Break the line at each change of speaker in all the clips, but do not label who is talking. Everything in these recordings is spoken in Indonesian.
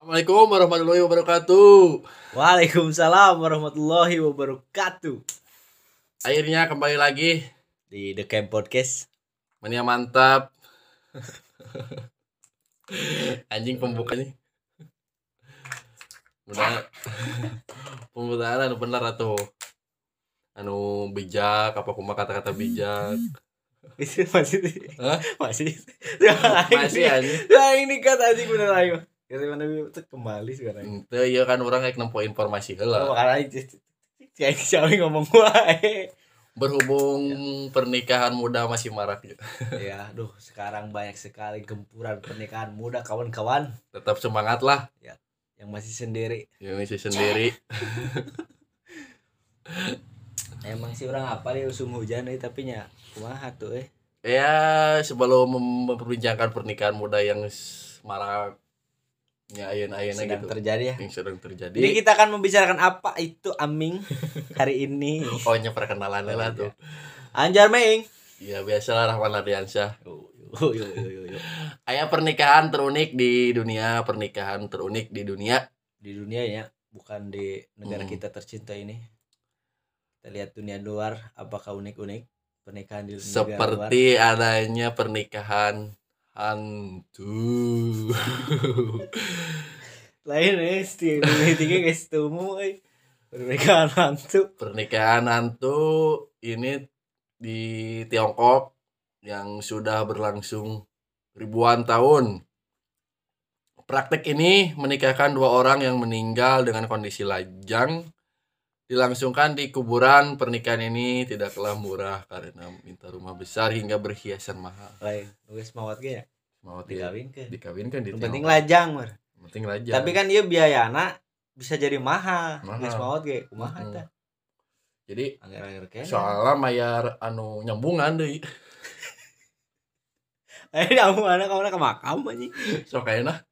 Assalamualaikum warahmatullahi wabarakatuh.
Waalaikumsalam warahmatullahi wabarakatuh.
Akhirnya kembali lagi
Di The Camp Podcast.
mania mantap. Anjing pembukanya. Mudah pemutaran bener atau anu bijak apa kuma kata-kata bijak.
Itu masih
Hah?
masih
Masih anjing.
Nah, ini kata anjing bener ayo. Kata mana itu kembali sekarang.
Teu ieu kan orang rek nempo informasi heula.
Oh, makanya itu- si anjing siapa yang ngomong wae.
Berhubung pernikahan muda masih marak
ya, aduh sekarang banyak sekali gempuran pernikahan muda kawan-kawan
Tetap semangat lah
yang masih sendiri.
Indonesia sendiri.
Emang sih orang apa nih usum hujan eh tapi nya kumaha tuh eh.
ya sebelum mem- memperbincangkan pernikahan muda yang s- maraknya ayen-ayennya
Sedang
gitu
terjadi ya.
yang sedang
Jadi
terjadi
kita akan membicarakan apa itu aming hari ini.
pokoknya perkenalan lah
Iya.
tuh
Anjar Meing.
ya biasalah Rahman Ardiansyah
Yo yo yo yo, yo.
ayah pernikahan terunik di dunia pernikahan terunik di dunia
Di dunia ya, bukan di negara
Hmm.
kita tercinta ini. Kita lihat dunia luar apakah unik-unik pernikahan di negara luar.
seperti adanya pernikahan hantu
lain eh di dunia tiga guys temu eh. pernikahan hantu.
pernikahan hantu ini di Tiongkok yang sudah berlangsung ribuan tahun. Praktek ini menikahkan dua orang yang meninggal dengan kondisi lajang dilangsungkan di kuburan pernikahan ini tidaklah murah karena minta rumah besar hingga berhiasan mahal.
Lain guys mawat ge ya
Mau tidak
dikawinkeun.
dikawinkan di
Yang penting
Tiongkok.
lajang mer.
Yang penting lajang.
Tapi kan ieu biayana bisa jadi mahal.
Mahal.
Geus mawat ge kumaha
Mm.
tah?
jadi
Angger-angger kene.
soalnya mayar anu nyambungan deh
Eh, kamu mana kamu ke makam anjing.
sok enak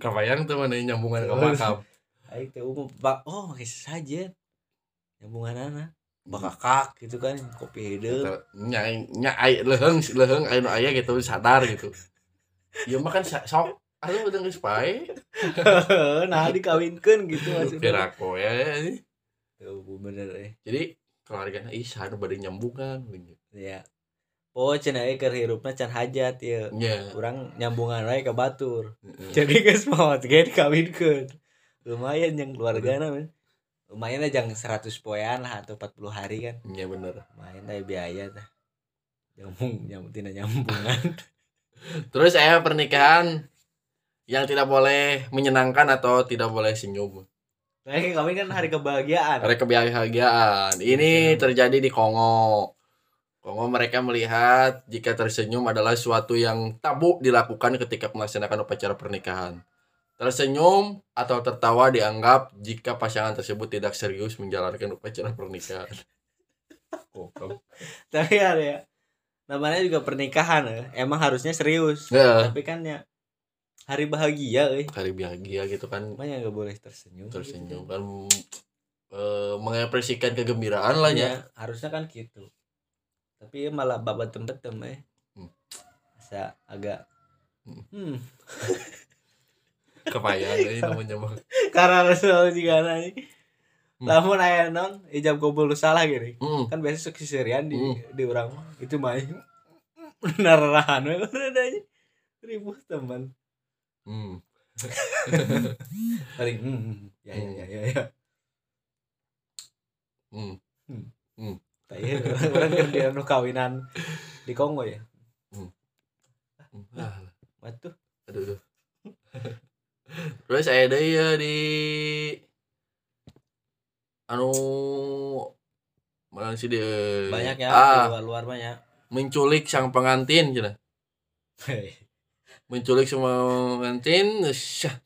kabayang tuh mana nyambungan ke makam
Aing teh umum bak oh make sajen. Nyambungan anak. Bakakak gitu kan kopi hidup.
Gitu. nyai nyai leheng leheng ayo nu aya gitu sadar gitu ya mah kan sa- sok aduh udah geus pae
nah dikawinkan gitu maksudnya.
pirako ya
Tuh bener eh.
jadi keluarganya ih sanu bade nyambungan
Ya. Oh cenah euy keur hirupna can hajat ya.
nya
Urang nyambungan wae ke batur.
iya,
Jadi geus maot ge dikawinkeun. Lumayan yang keluargana men. Lumayan aja yang 100 poean lah atau 40 hari kan.
nya iya, bener
Lumayan lah biaya tah. Nyambung, nyambung, tidak nyambungan.
terus saya pernikahan yang tidak boleh menyenangkan atau tidak boleh senyum
Kayak kami kan hari kebahagiaan.
Mereka kebahagiaan. Ini terjadi di Kongo. Kongo mereka melihat jika tersenyum adalah suatu yang tabu dilakukan ketika melaksanakan upacara pernikahan. Tersenyum atau tertawa dianggap jika pasangan tersebut tidak serius menjalankan upacara pernikahan. Goblok.
tapi ada ya namanya juga pernikahan ya. emang harusnya serius
Ya,
tapi kan ya hari bahagia eh
hari bahagia gitu kan
emang ya nggak boleh tersenyum
tersenyum
gitu.
kan eh, mengekspresikan kegembiraan lah ya.
Iya, harusnya kan gitu tapi ya malah babat tempetem eh
Hmm.
Asa agak
Hmm.
hmm.
Kebayang ini namanya mah.
karena Rasul juga nanya
Hmm.
namun ayah non ijab kabul salah gini
Hmm.
kan biasa suka sisirian di
Hmm.
di orang mah. itu main narahan udah ribut teman
Hmm.
paling hmm, hmm, ya ya ya ya, ya.
Hmm.
Tak iya, orang kan di anu kawinan di Kongo ya
Hmm. Ah.
Waduh
aduh aduh. terus ada ya di anu mana sih dia
banyak ya
ah,
luar luar banyak
menculik sang pengantin cina menculik semua pengantin syah.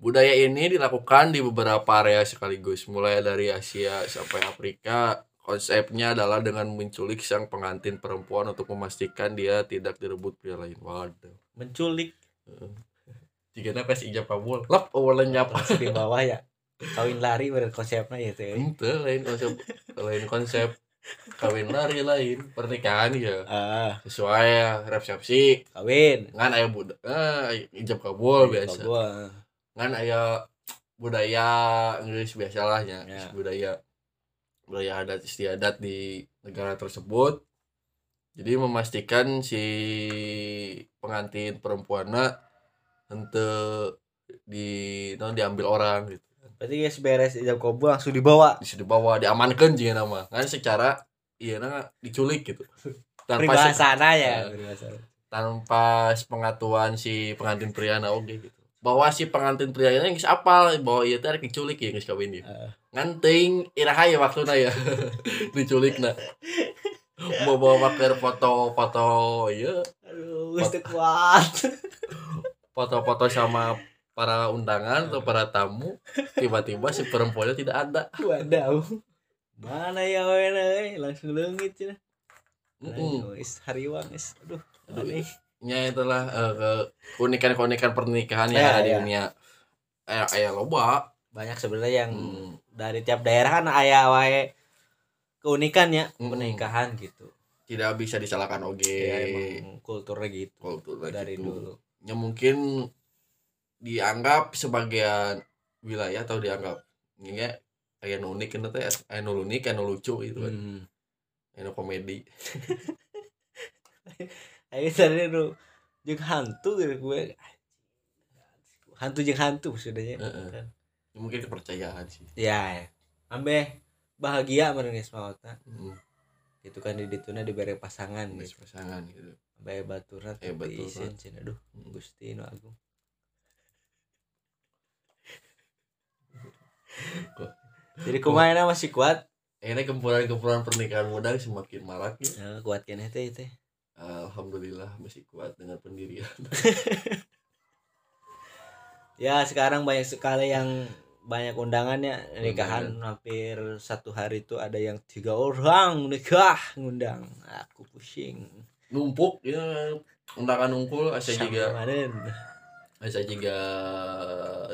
budaya ini dilakukan di beberapa area sekaligus mulai dari Asia sampai Afrika konsepnya adalah dengan menculik sang pengantin perempuan untuk memastikan dia tidak direbut pria lain waduh
menculik
jika nak kasih ijab kabul lap awalan nyapa
langsung di bawah ya kawin lari bener konsepnya ya teh
Ente lain konsep lain konsep kawin lari lain pernikahan ya
ah
sesuai ya resepsi
kawin
ngan ayah budak eh, ijab kabul biasa
Gua,
ngan aya budaya Inggris biasalahnya
Ya.
budaya budaya adat istiadat di negara tersebut jadi memastikan si pengantin perempuannya henteu di non diambil orang gitu
berarti guys beres ijab kabul langsung dibawa
di dibawa diamankan jeung nama kan secara iya na diculik gitu tanpa se-
peribahasana ya
Ya.
peribahasana.
tanpa pengetahuan si pengantin pria na oge gitu bahwa si pengantin pria ini geus apal bahwa ieu teh arek diculik ya geus kawin ieu
Heeh.
nganting iraha ya waktuna ya diculik na mau bawa pakai foto-foto iya
aduh geus teu kuat
foto-foto sama para undangan atau para tamu tiba-tiba si perempuannya tidak ada
wadaw mana ya wena euy langsung leungit cenah
Mm-mm.
Aduh, is hariwang is aduh
Aduh,
aneh.
nya itulah eh, ke keunikan-keunikan pernikahan yang
Ya,
ada di
ya.
dunia eh ayah loba
banyak sebenarnya yang
Hmm.
dari tiap daerah kan aya wae keunikan ya
Mm-mm.
pernikahan gitu
Hmm. tidak bisa disalahkan oge
ya emang kulturnya gitu
kultur
dari dulu
ya mungkin dianggap sebagian wilayah atau dianggap ini ya kayak nu unik itu teh aya nu eh, unik aya nu lucu gitu kan
Hmm.
aya nu komedi
Ayo tadi lu jeung hantu gitu gue. Hantu jeung hantu maksudnya. Kan.
Heeh. Ya mungkin kepercayaan sih
Ya, ya. Ambe bahagia meureun geus maota.
hmm.
Gitu kan di dituna dibere pasangan
geus
gitu.
pasangan gitu
Ambe baturna
Eh,
teu
baturna.
diisin cenah. Aduh, Gusti nu agung. Jadi kumaha masih kuat?
akhirnya kumpulan-kumpulan pernikahan muda semakin marak ya.
Nah, kuat keneh teh teh.
alhamdulillah masih kuat dengan pendirian
Ya, sekarang banyak sekali yang banyak undangannya nikahan hampir satu hari itu ada yang tiga orang nikah ngundang aku pusing
numpuk ya undangan nungkul asa juga
kemarin
asa juga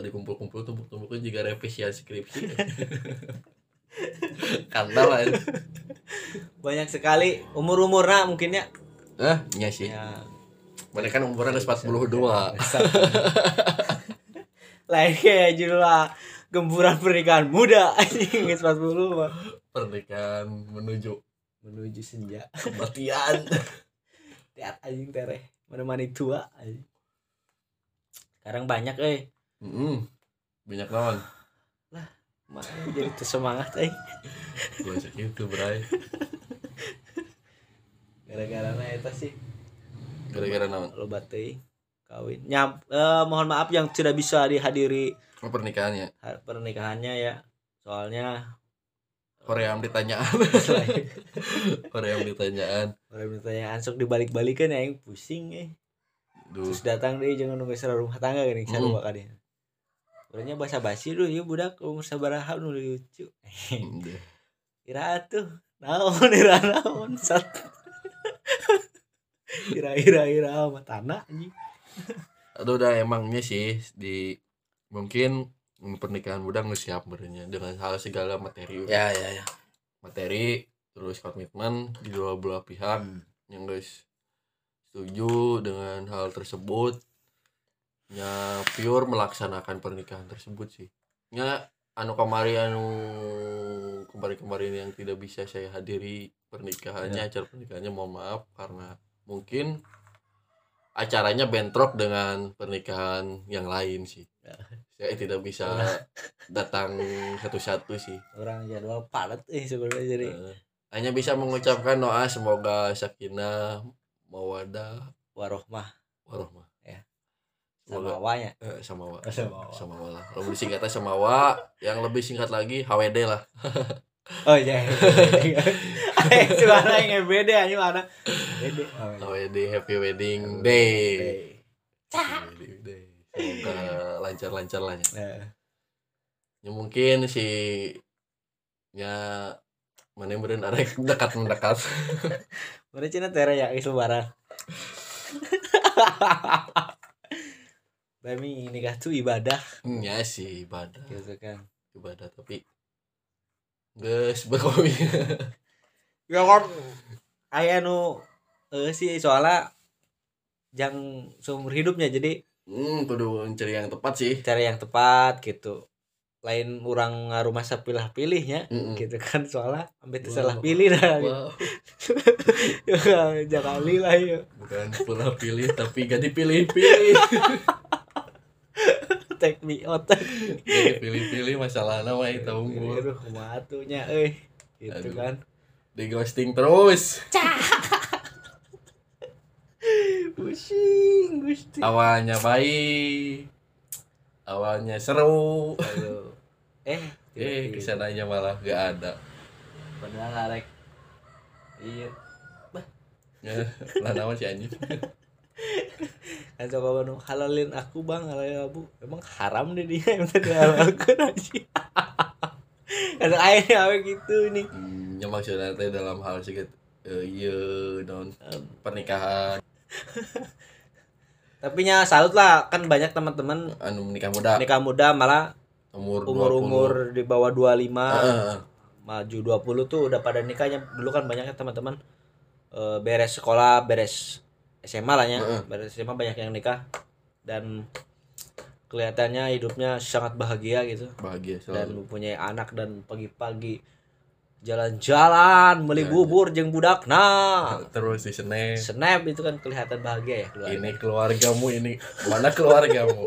dikumpul-kumpul tumpuk-tumpuknya juga revisi skripsi kantor lah ya.
banyak sekali umur umurnya mungkinnya
Eh, iya sih.
ya
Mereka kan umurnya geus 42.
lain kayak judul lah, gemburan pernikahan muda anjing geus 40 mah
Pernikahan menuju
menuju senja
kematian.
lihat anjing tereh menemani tua anjing. sekarang banyak eh
Heeh. Banyak lawan.
Mah, jadi tersemangat eh
Gua itu, Bray.
gara-gara na eta sih
Gara-gara naon?
lo batai kawin Nyam, eh, mohon maaf yang tidak bisa dihadiri
Oh, pernikahannya.
ha- pernikahannya ya soalnya
Korea ditanyaan, Korea ditanyaan.
orang bertanya ansok dibalik-balikan ya yang pusing eh
Duh,
terus datang deh jangan nunggu secara rumah tangga kan, gini
Mm.
sarua kali ya. Orangnya bahasa basi dulu ya budak umur sabaraha nu lucu.
deh.
Ira atuh. Naon ira naon sat. Ira ira ira mah tanah anjing.
Aduh, udah emangnya sih di mungkin pernikahan muda nggak siap berenya dengan hal segala materi
Ya ya ya.
materi terus komitmen di dua belah pihak yang guys setuju dengan hal tersebut nya pure melaksanakan pernikahan tersebut sih nya anu kemari anu kemarin kemarin yang tidak bisa saya hadiri
Ya.
pernikahannya acara pernikahannya mohon maaf karena mungkin acaranya bentrok dengan pernikahan yang lain sih
Ya.
saya tidak bisa datang satu-satu sih
Orang jadwal padat eh sebenarnya jadi.
Eh, hanya bisa mengucapkan doa semoga sakinah mawadah
Warohmah
warohmah
sama
semoga
awalnya.
eh, Ya. samawa
Samawa.
samawa lah kalau disingkatnya samawa yang lebih singkat lagi HWD lah
Oh iya. Eh suara yang beda anjing mana? Beda.
HWD Happy Wedding Day Happy Wedding Day. semoga lancar-lancar lah ya.
Nah,
ya mungkin si ya mana yang beren arek dekat mendekat
Mana cina tera ya is lebaran. Tapi nikah tuh ibadah
ya sih ibadah
gitu kan.
ibadah tapi guys berkomi
Ya kan aya nu eh sih soalnya jang seumur hidupnya jadi
Hmm, kudu mencari yang tepat sih.
cara yang tepat gitu lain orang ngaruh masa pilah pilihnya
Mm-mm.
gitu kan soalnya ambil
Wow.
salah pilih dah gitu.
Wow,
jangan kali lah ya
bukan pula pilih tapi gak dipilih-pilih.
take me out
Gak dipilih-pilih masalah nama itu
Iya,
unggul.
aduh matunya eh gitu
Aduh.
kan
Di ghosting terus.
pusing gusti
Awalnya baik. Awalnya seru.
Aduh. eh
Eh,
tiba-tiba.
kesananya malah gak ada.
padahal arek iya
Ya, lah nama si anjing.
kan coba banu halalin aku bang halalin abu emang haram deh dia yang tadi halalkan aja kata airnya apa gitu nih
Hmm, ya maksudnya teh dalam hal sih gitu. Eh, iya, non pernikahan
tapi nya salut lah kan banyak teman-teman
anu menikah muda
nikah muda malah
umur
umur-umur Ah. di bawah 25
Heeh.
maju 20 tuh udah pada nikahnya dulu kan banyaknya teman-teman eh, beres sekolah beres SMA lah ya
Heeh.
beres SMA banyak yang nikah dan kelihatannya hidupnya sangat bahagia gitu
bahagia
dan
selalu
mempunyai anak dan pagi-pagi jalan-jalan beli
Jalan-jalan.
bubur jeung budakna
terus di Senin
snap itu kan kelihatan bahagia ya keluarga
ini keluargamu ini mana keluargamu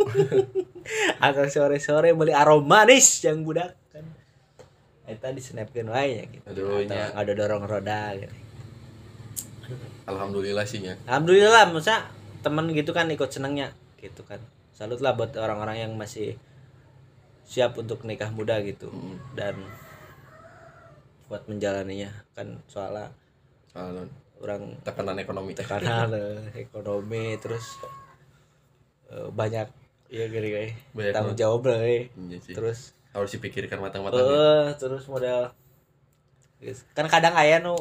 atau sore-sore beli aroma manis yang budak kan eta di snapkeun wae ya gitu
Aduh,
Atau
nya.
ada dorong roda gitu
alhamdulillah sih ya
alhamdulillah lah masa temen gitu kan ikut senengnya gitu kan salut lah buat orang-orang yang masih siap untuk nikah muda gitu
Mm.
dan buat menjalaninya kan soalnya
Kalau
orang
Ah, tekanan ekonomi
tekanan eh, ekonomi terus eh, banyak ya gini gini
Banyak
tanggung
banget.
jawab lah eh.
Iya sih.
terus
harus dipikirkan
eh
matang-matang ya.
terus model Yes. kan kadang aya nu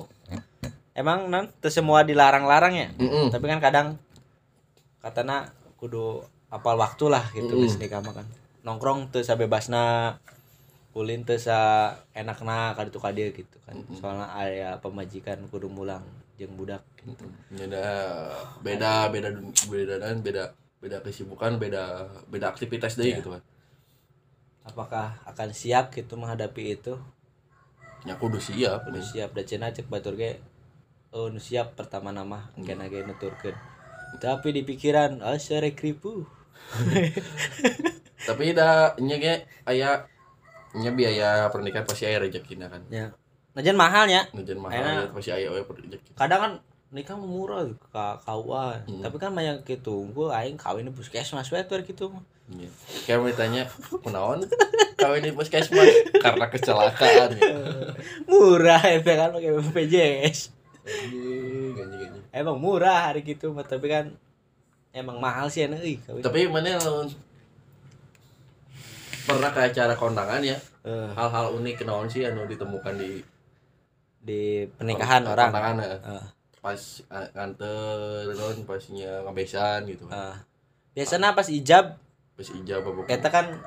emang non teu semua dilarang-larang ya
Mm-mm.
tapi kan kadang katana kudu apal waktu lah gitu
Mm-mm.
geus nikah mah kan nongkrong teu sabebasna ulin teu sa enakna ka ditu ka dieu gitu kan soalnya aya pemajikan kudu mulang jeung budak gitu
ya udah beda beda dun- beda dan beda beda kesibukan beda beda aktivitas deh gitu kan
apakah akan siap gitu menghadapi itu
ya aku udah siap
udah siap dan cina cek batur ge oh nu siap pertama nama kena ge nuturkeun tapi di pikiran "Ah, asare kripu
tapi dah nya ge aya nya biaya pernikahan pasti aya rezekina kan
ya najan mahalnya
Nujan
Enak.
mahal ya, pasti aya we rezeki
kadang kan nikah mah murah ka KUA tapi kan banyak gitu gua aing kawin di puskesmas we tuh gitu
Iya. Kayak mau ditanya kunaon kawin di puskesmas karena kecelakaan ya.
murah itu kan pakai BPJS
Anjing, anjing, anjing.
emang murah hari gitu mah, tapi kan emang mahal sih enak euy kawin
Tapi mana lamun pernah ke acara kondangan ya
Eh,
hal-hal unik kenaon sih anu ditemukan di
di pernikahan
kon-
orang Ah.
kondangan ya.
Heeh.
pas a- nganter non pasnya ngabesan gitu kan.
Ah. biasanya pas ijab
pas ijab apa
Eta kan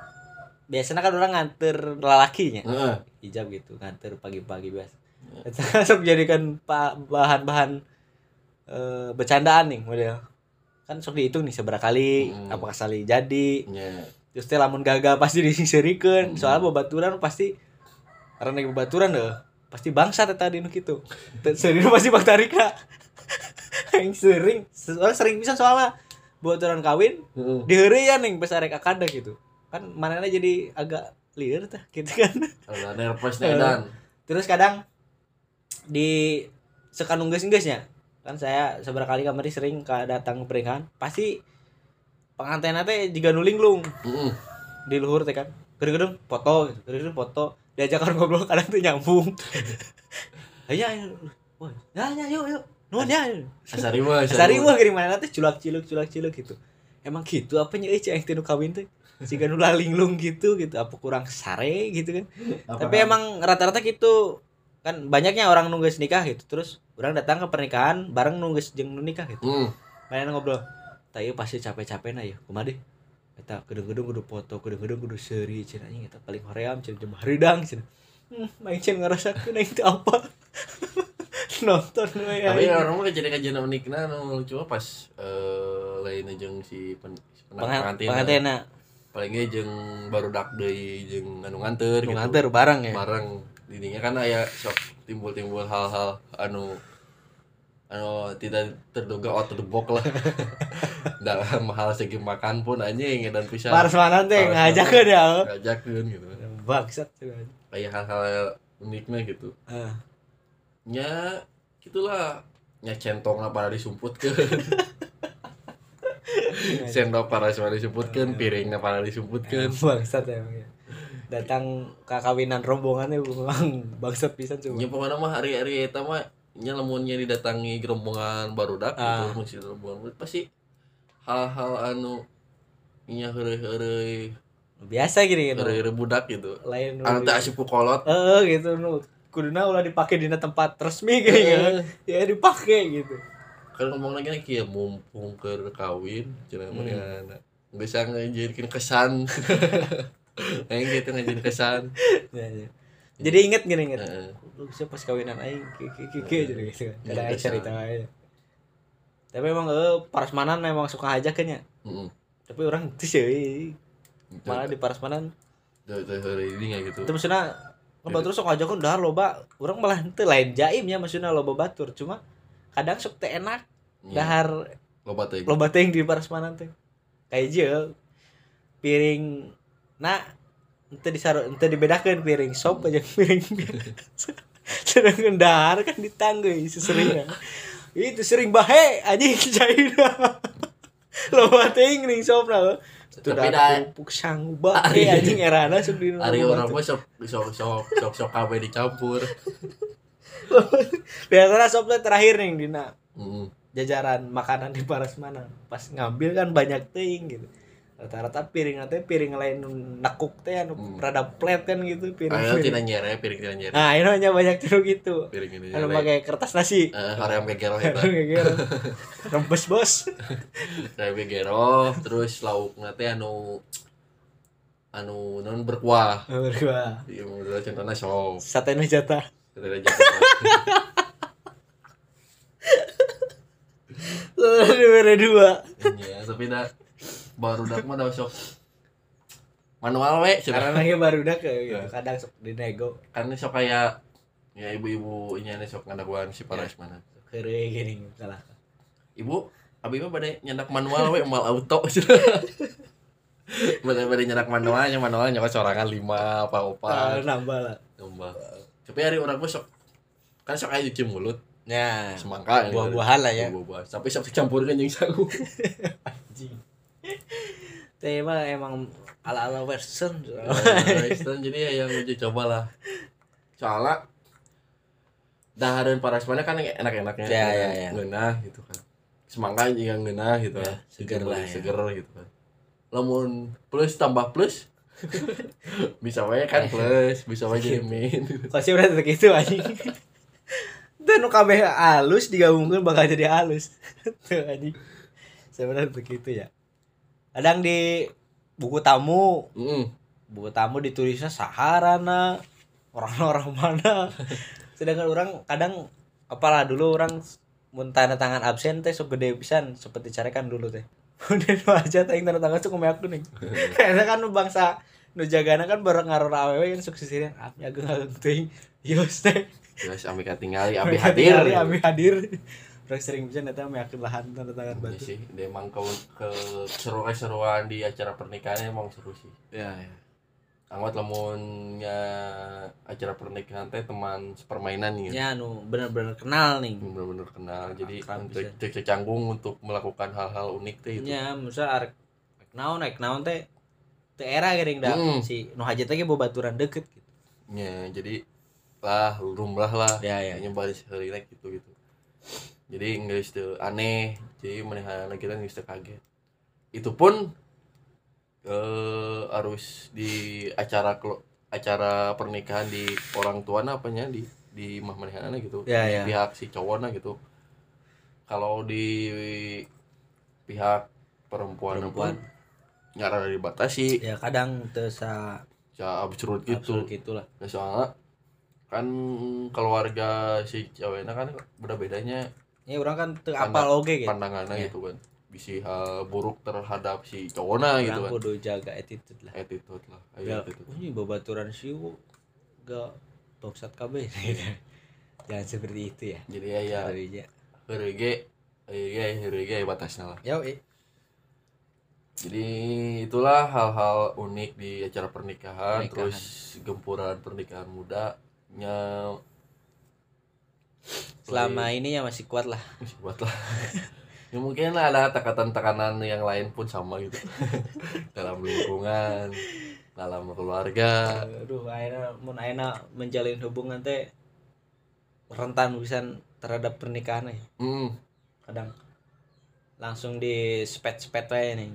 biasanya kan orang nganter lelakinya
Heeh.
hijab gitu nganter pagi-pagi biasa
Iya.
Eta kan sok jadikan pa- bahan-bahan eh, bercandaan nih model kan sok dihitung nih seberapa kali
Hmm.
apakah sekali jadi
nya
terus teh lamun gagal pasti disingserikeun
Hmm.
soalnya babaturan pasti karena babaturan deh pasti bangsa teh tadi nu kitu Teu seureun pasti bak tarika yang sering soalnya sering bisa soalnya babaturan kawin
Heeh.
diheureuy ya ning besar rek akada gitu kan manehna jadi agak liar tah gitu kan
ada nervous dan
terus kadang di sekanung geus geusnya kan saya seberapa kali kamari sering ka datang ke pernikahan pasti pengantin teh juga nulinglung
heeh
di luhur teh kan gedung-gedung foto gitu gedung foto diajak orang ngobrol kadang tuh nyambung Aya, ayo wah ya ya yuk yuk nuhun ya
asariwa
Sari wah gini mana teh culak ciluk culak ciluk gitu. Emang gitu apa nya euy tinu kawin teh? Siga nu lalinglung gitu gitu apa kurang sare gitu kan. Tapi emang rata-rata gitu kan banyaknya orang nunggu geus nikah gitu terus orang datang ke pernikahan bareng nunggu jeung nu nikah gitu.
Hmm.
Mana ngobrol. Tah ieu pasti capek-capek na ya. Kumaha deh? Eta gedung-gedung kudu foto, gedung-gedung kudu seuri cenah anjing eta paling hoream cenah jeung haridang cenah. Hmm, main cenah ngarasakeun aing teh apa. Nonton we.
tapi
aing.
anu,
ya.
orang mah kejadian kejadian uniknya nu lucu mah pas eh lain jeung si pen, si penang-
Pengan-
pengantin
Pengantinnya
palingnya jeung baru dak deui jeung anu nganter
nu
gitu.
nganter barang ya.
bareng dirinya kan aya sok timbul-timbul hal-hal anu anu tidak terduga out of the box lah dalam hal segi makan pun anjing dan bisa
Parsmanan teh
Parsmanan.
ngajak ya.
ngajakin gitu
Bangsat. ya. Ah.
kayak hal-hal uniknya gitu
Heeh.
nya gitulah nya centong lah pada disumputkan sendok para disumputkan piringnya pada disumputkan
bangsat emang ya. Datang ke kawinan rombongannya bang bangsat pisan coba.
Ya pokoknya mah hari-hari eta mah nya lamunnya didatangi gerombongan barudak
Ah.
gitu mesti gerombongan barudak, pasti hal-hal anu nya heureuy-heureuy
Biasa gini gitu.
heureuy budak gitu.
Lain
Anu teh asup ku kolot.
Eh gitu nu kuduna ulah dipake dina tempat
Eh.
resmi kayaknya. ya dipake gitu.
Kan ngomong lagi nih kieu mumpung keur kawin cenah mun
Hmm.
anak. Bisa ngajadikan kesan. Aing gitu ngajadikan kesan.
Ya, ya. Jadi inget gini inget.
Heeh.
Lu bisa pas kawinan aing kiki jadi gitu.
Iya,
Kada aing
biasa.
cerita aja. Tapi emang eh parsmanan emang suka ajakan ya.
Heeh.
Tapi orang tuh sih
Malah
malah di parsmanan.
heureuy ini gitu.
Itu maksudnya
Iya.
Ngebak terus sok ajakan dah loba. Orang malah henteu lain jaim ya maksudnya loba batur. Cuma kadang sok teh enak
Nya,
dahar
Loba teh.
loba teh yang di parasmanan teh kayak jeu piring na ente disaru ente dibedakan piring sop aja piring biasa. sedangkan dahar kan ditangguh seseringnya itu sering bahe anjing caina loba teh yang ning sop na itu
Tapi
dah
dah-
pupuk sang bahe anjing erana sok di
Ari orang mah sok sok sok sok sok kabeh dicampur.
biasanya sop teh terakhir nih dina
Heeh.
jajaran makanan di Parasmanan pas ngambil kan banyak ting gitu rata-rata piring teh piring lain nu nekuk teh anu
Hmm.
rada plat kan gitu piring,
Ayo
piring.
tina nyere, piring tina nyere.
nah ini hanya banyak tiru gitu
Piring ini
anu
nyere.
pakai kertas nasi
Eh, hoream gegero
Anu
eta.
geger. rembes bos
Hoream gegero, terus laukna teh anu anu non berkuah. Iya,
nomor dua
Ieu mah udah contohna sop.
sate nu jatah
Kita ada jalan.
nomor dua
Iya, tapi dah baru dak mah dah sok manual we
karena
cenah.
lagi baru dah gitu
Ya.
kadang sok dinego
Kan sok kayak ya ibu-ibu nya nih sok ngadaguan si paras
Ya.
mana.
kere gini kalah
Ibu, abi mah bade nyendak manual we mal auto. Bade bade nyendak manual, nya manual nya sorangan lima apa opat.
Ah, nambah lah
Domba. Tapi hari orang gue sok kan sok aja cuci mulut
ya
semangka
buah-buahan lah
ya.
ya
Buah-buah. Tapi kan sok dicampurin jeung sagu.
teh mah emang ala-ala western
Kristen Nah, jadi ya yang uji cobalah. Soalnya dahareun parasmana kan yang enak-enaknya.
Ya, ya, ya.
Ngeunah gitu kan. Semangka juga ngeunah gitu
Ya,
kan.
seger lah ya.
Seger gitu kan. Lamun plus tambah plus bisa wae
Eh.
kan plus, bisa wae jadi min.
Konsep udah tetep gitu anjing. Dan nu kabeh halus digabungkan bakal jadi halus. Tuh anjing. Sebenarnya begitu ya. Kadang di buku tamu,
Heeh.
buku tamu ditulisnya Saharana, orang-orang mana. Sedangkan orang kadang apalah dulu orang mun tanda tangan absen teh sok gede pisan seperti carikan dulu teh. Udah nu aja teh tanda tangan sok kumaha kuning. Karena kan nu bangsa nu jagana kan baru ngaruh awewe kan sukses ini abdi ageng ageng teuing. Yos teh.
Terus ami katingali abi hadir.
Kali Abi hadir. Orang sering bisa nanti ame yakin lahan tanda tangan
Iya
batu.
sih, dia emang ke, ke seruan-seruan di acara pernikahan emang seru sih.
Ya
iya.
ya.
Anggap lamunnya acara pernikahan teh teman sepermainan gitu.
Ya nu benar-benar kenal nih.
Bener-bener kenal. Jadi
Akrab
untuk cek cek canggung untuk melakukan hal-hal unik teh itu.
Ya misal arek arek naon arek naon teh teh era gering dah
Hmm.
si nu hajat teh ge bawa baturan deket gitu.
Ya, jadi lah lumrah lah
Ya
kayaknya baris hari naik gitu gitu. Jadi nggak itu aneh. Jadi melihat kita nggak itu kaget. Itu pun eh harus di acara kelu- acara pernikahan di orang tuana apanya di di mah menihanana gitu.
Ya ya.
pihak si cowoknya gitu kalau di pihak perempuan
Perempuan.
perempuan nyara dari batasi
Ya kadang teu sa
ya absurd
absurd
gitu
gitu lah.
Nah, soalnya kan keluarga si ceweknya kan beda bedanya
Ya orang kan teu
Pandang-
apal oge gitu.
pandangannya
Ya.
gitu kan isi hal buruk terhadap si cowona gitu kan Iya,
Orang
gitu.
kudu jaga attitude lah.
attitude lah
Ya,
ayo attitude
ini babaturan siu gak bangsat kabeh gitu. Jangan seperti itu ya.
jadi ya ya
Jadinya.
herege herege herege batasnya lah
Ya, eh.
jadi itulah hal-hal unik di acara pernikahan,
Pernikahan.
terus gempuran pernikahan muda nya
selama ini ya masih kuat lah.
Ih, buat lah ya mungkin ada tekanan-tekanan yang lain pun sama gitu dalam lingkungan dalam keluarga
Aduh, akhirnya mun akhirnya menjalin hubungan teh rentan pisan terhadap pernikahan ya.
hmm,
Kadang langsung di spet-spet wae nih.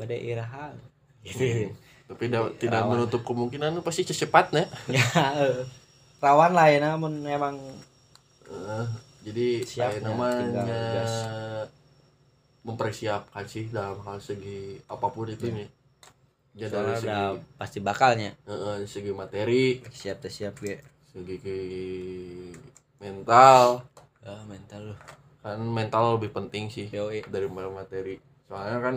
Badai iraha.
ya.
Gitu.
tapi da- tidak
Rawan.
menutup kemungkinan pasti secepatnya
ya eh, rawan lah ya namun emang
Eh, jadi
Siap,
saya
ya. Tinggal
namanya
gas.
mempersiapkan sih dalam hal segi apapun itu nih ya dari
Iya. soalnya
segi
udah pasti bakalnya
eh, eh, segi materi
siap teh siap gue
segi mental
Ah, mental lu
kan mental lebih penting sih
yo
dari materi soalnya kan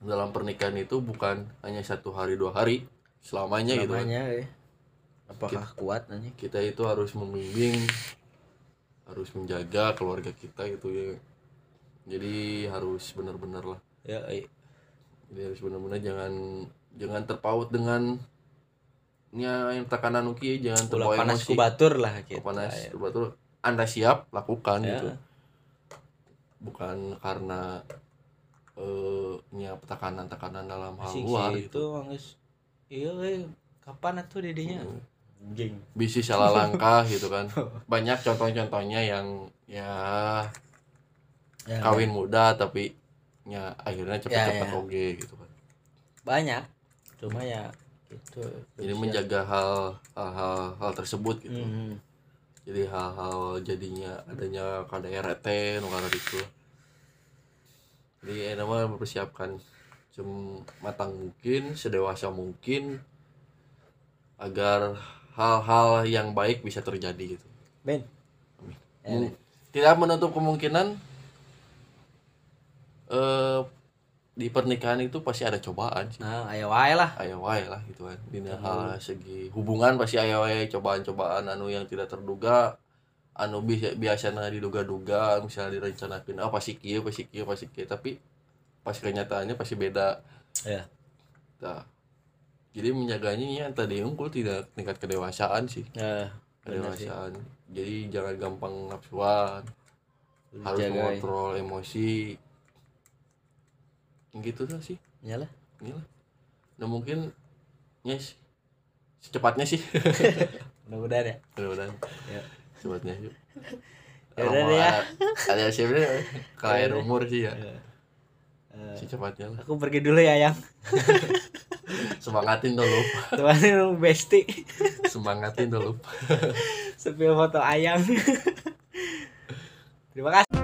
dalam pernikahan itu bukan hanya satu hari dua hari selamanya gitu kan.
namanya eh. apakah kuat nanya
kita itu harus membimbing harus menjaga keluarga kita gitu ya jadi harus benar-benar lah
yo
jadi harus benar-benar jangan jangan terpaut dengan nya yang tekanan uki jangan
ulah
terbawa
panas
emosi
ku batur lah gitu
panas
Aya.
coba tuh anda siap lakukan
Ya.
gitu bukan karena eh nya tekanan-tekanan dalam hal
Asing
luar
sih itu
gitu
mangus iya eh. kapan atuh didinya
Hmm.
jing
bisnis salah langkah gitu kan banyak contoh-contohnya yang ya kawin muda tapi ya akhirnya cepet-cepet
Ya, ya.
oge gitu kan
banyak cuma ya gitu
jadi menjaga hal hal hal, hal tersebut gitu
Mhm.
jadi hal-hal jadinya adanya KDRT nu karena itu jadi enak mempersiapkan sematang mungkin sedewasa mungkin agar hal-hal yang baik bisa terjadi gitu
ben
Amin.
Ya, Ben.
Mu- tidak menutup kemungkinan eh di pernikahan itu pasti ada cobaan sih
nah ayo wae lah
ayo wae lah gitu kan di
Iya.
hal segi hubungan pasti ayo wae cobaan-cobaan anu yang tidak terduga anu bisa biasanya diduga-duga misalnya direncanakan ah pasti kieu pasti kieu pasti kieu tapi pas kenyataannya pasti beda
Iya.
Nah, jadi menjaganya ya tadi unggul tidak tingkat kedewasaan sih
Eh, bener sih.
kedewasaan jadi jangan gampang nafsuan harus
Dijaga, ya.
mengontrol emosi gitu lah sih
Iyalah.
inilah nah mungkin yes secepatnya sih
mudah-mudahan ya
mudah-mudahan
Ya.
secepatnya yuk
Ya udah deh ya.
ada siapa kalian
Ya udah.
umur sih ya
Eh, eh,
secepatnya lah
aku pergi dulu ya yang
semangatin dulu
temenin dong besti
semangatin dulu
sepil foto ayam terima kasih